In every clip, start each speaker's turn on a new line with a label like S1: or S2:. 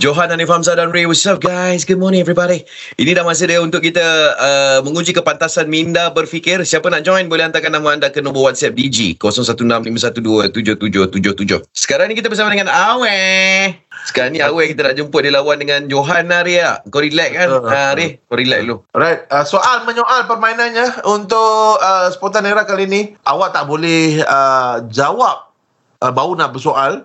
S1: Johan, Hanif Hamzah dan Ray. What's up guys? Good morning everybody. Ini dah masa dia untuk kita uh, menguji kepantasan minda berfikir. Siapa nak join boleh hantarkan nama anda ke nombor WhatsApp DG 0165127777. Sekarang ni kita bersama dengan Awe. Sekarang ni Awe kita nak jumpa dia lawan dengan Johan lah Ray. ah. Kau relax kan?
S2: Betul.
S1: Ha, Ray, kau relax dulu.
S2: Right, uh, soal menyoal permainannya untuk uh, Spontan Era kali ini, awak tak boleh uh, jawab uh, baru nak bersoal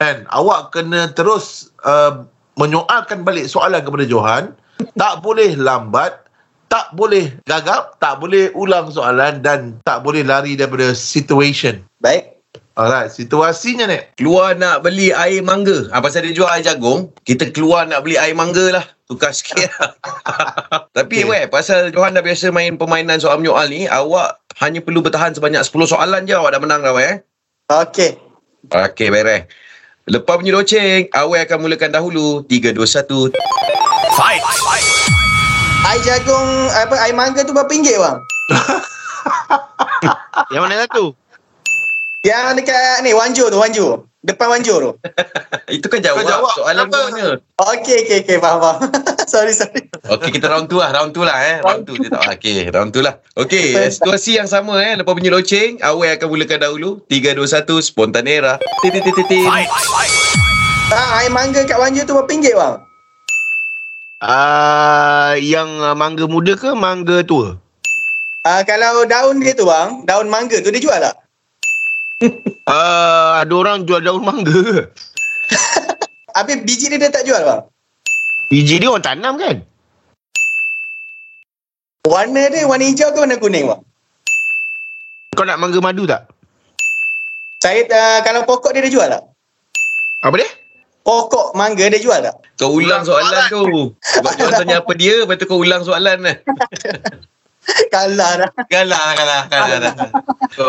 S2: kan. Awak kena terus uh, menyoalkan balik soalan kepada Johan. Tak boleh lambat, tak boleh gagap, tak boleh ulang soalan dan tak boleh lari daripada situation.
S3: Baik.
S2: Alright, situasinya ni.
S1: Keluar nak beli air mangga. Ha, pasal dia jual air jagung, kita keluar nak beli air mangga lah. Tukar sikit lah. Tapi
S2: Okay.
S1: okay. weh, pasal Johan dah biasa main permainan soal menyoal ni, awak hanya perlu bertahan sebanyak 10 soalan je awak dah menang dah weh. eh.
S3: Okey.
S1: Okey, beres. Lepas bunyi loceng, awak akan mulakan dahulu. 3, 2, 1.
S3: Air jagung apa air mangga tu berapa ringgit bang?
S4: Yang mana satu?
S3: Yang dekat ni Wanjo tu, Wanjo. Depan Wanjo tu.
S1: Itu kan jawab,
S2: Kau jawab.
S1: soalan kau
S2: Apa?
S1: mana.
S3: Okey okey okey faham faham. sorry sorry.
S1: Okey, kita round tu lah. Round tu lah eh. Round tu je tak. Okey, round tu lah. Okey, eh, situasi yang sama eh. Lepas bunyi loceng, awak akan mulakan dahulu. 3, 2, 1, spontanera. Titi-titi-titi.
S3: Ah air mangga kat Wanjo tu berapa ringgit bang?
S4: Uh, yang ah, mangga muda ke mangga tua?
S3: Ah kalau daun dia tu bang, daun mangga tu dia jual tak?
S4: Uh, ada orang jual daun mangga ke?
S3: Habis biji dia, dia tak jual bang?
S4: Biji dia orang tanam kan?
S3: Warna dia warna hijau ke warna kuning bang?
S4: Kau nak mangga madu tak?
S3: Saya uh, kalau pokok dia dia jual tak?
S4: Apa dia?
S3: Pokok mangga dia jual tak?
S1: Kau ulang soalan tu. Sebab dia orang tanya apa dia, lepas tu kau ulang soalan lah.
S3: Kalah dah.
S1: Kalah, kalah, kalah. kalah.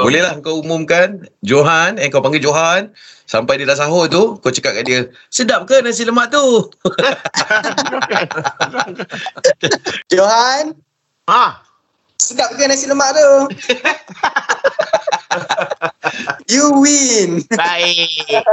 S1: Bolehlah kau umumkan Johan, eh kau panggil Johan. Sampai dia dah sahur tu, kau cakap kat dia, sedap ke nasi lemak tu?
S3: Johan,
S2: Ah.
S4: Ha?
S3: sedap ke nasi lemak tu? you win.
S4: Baik.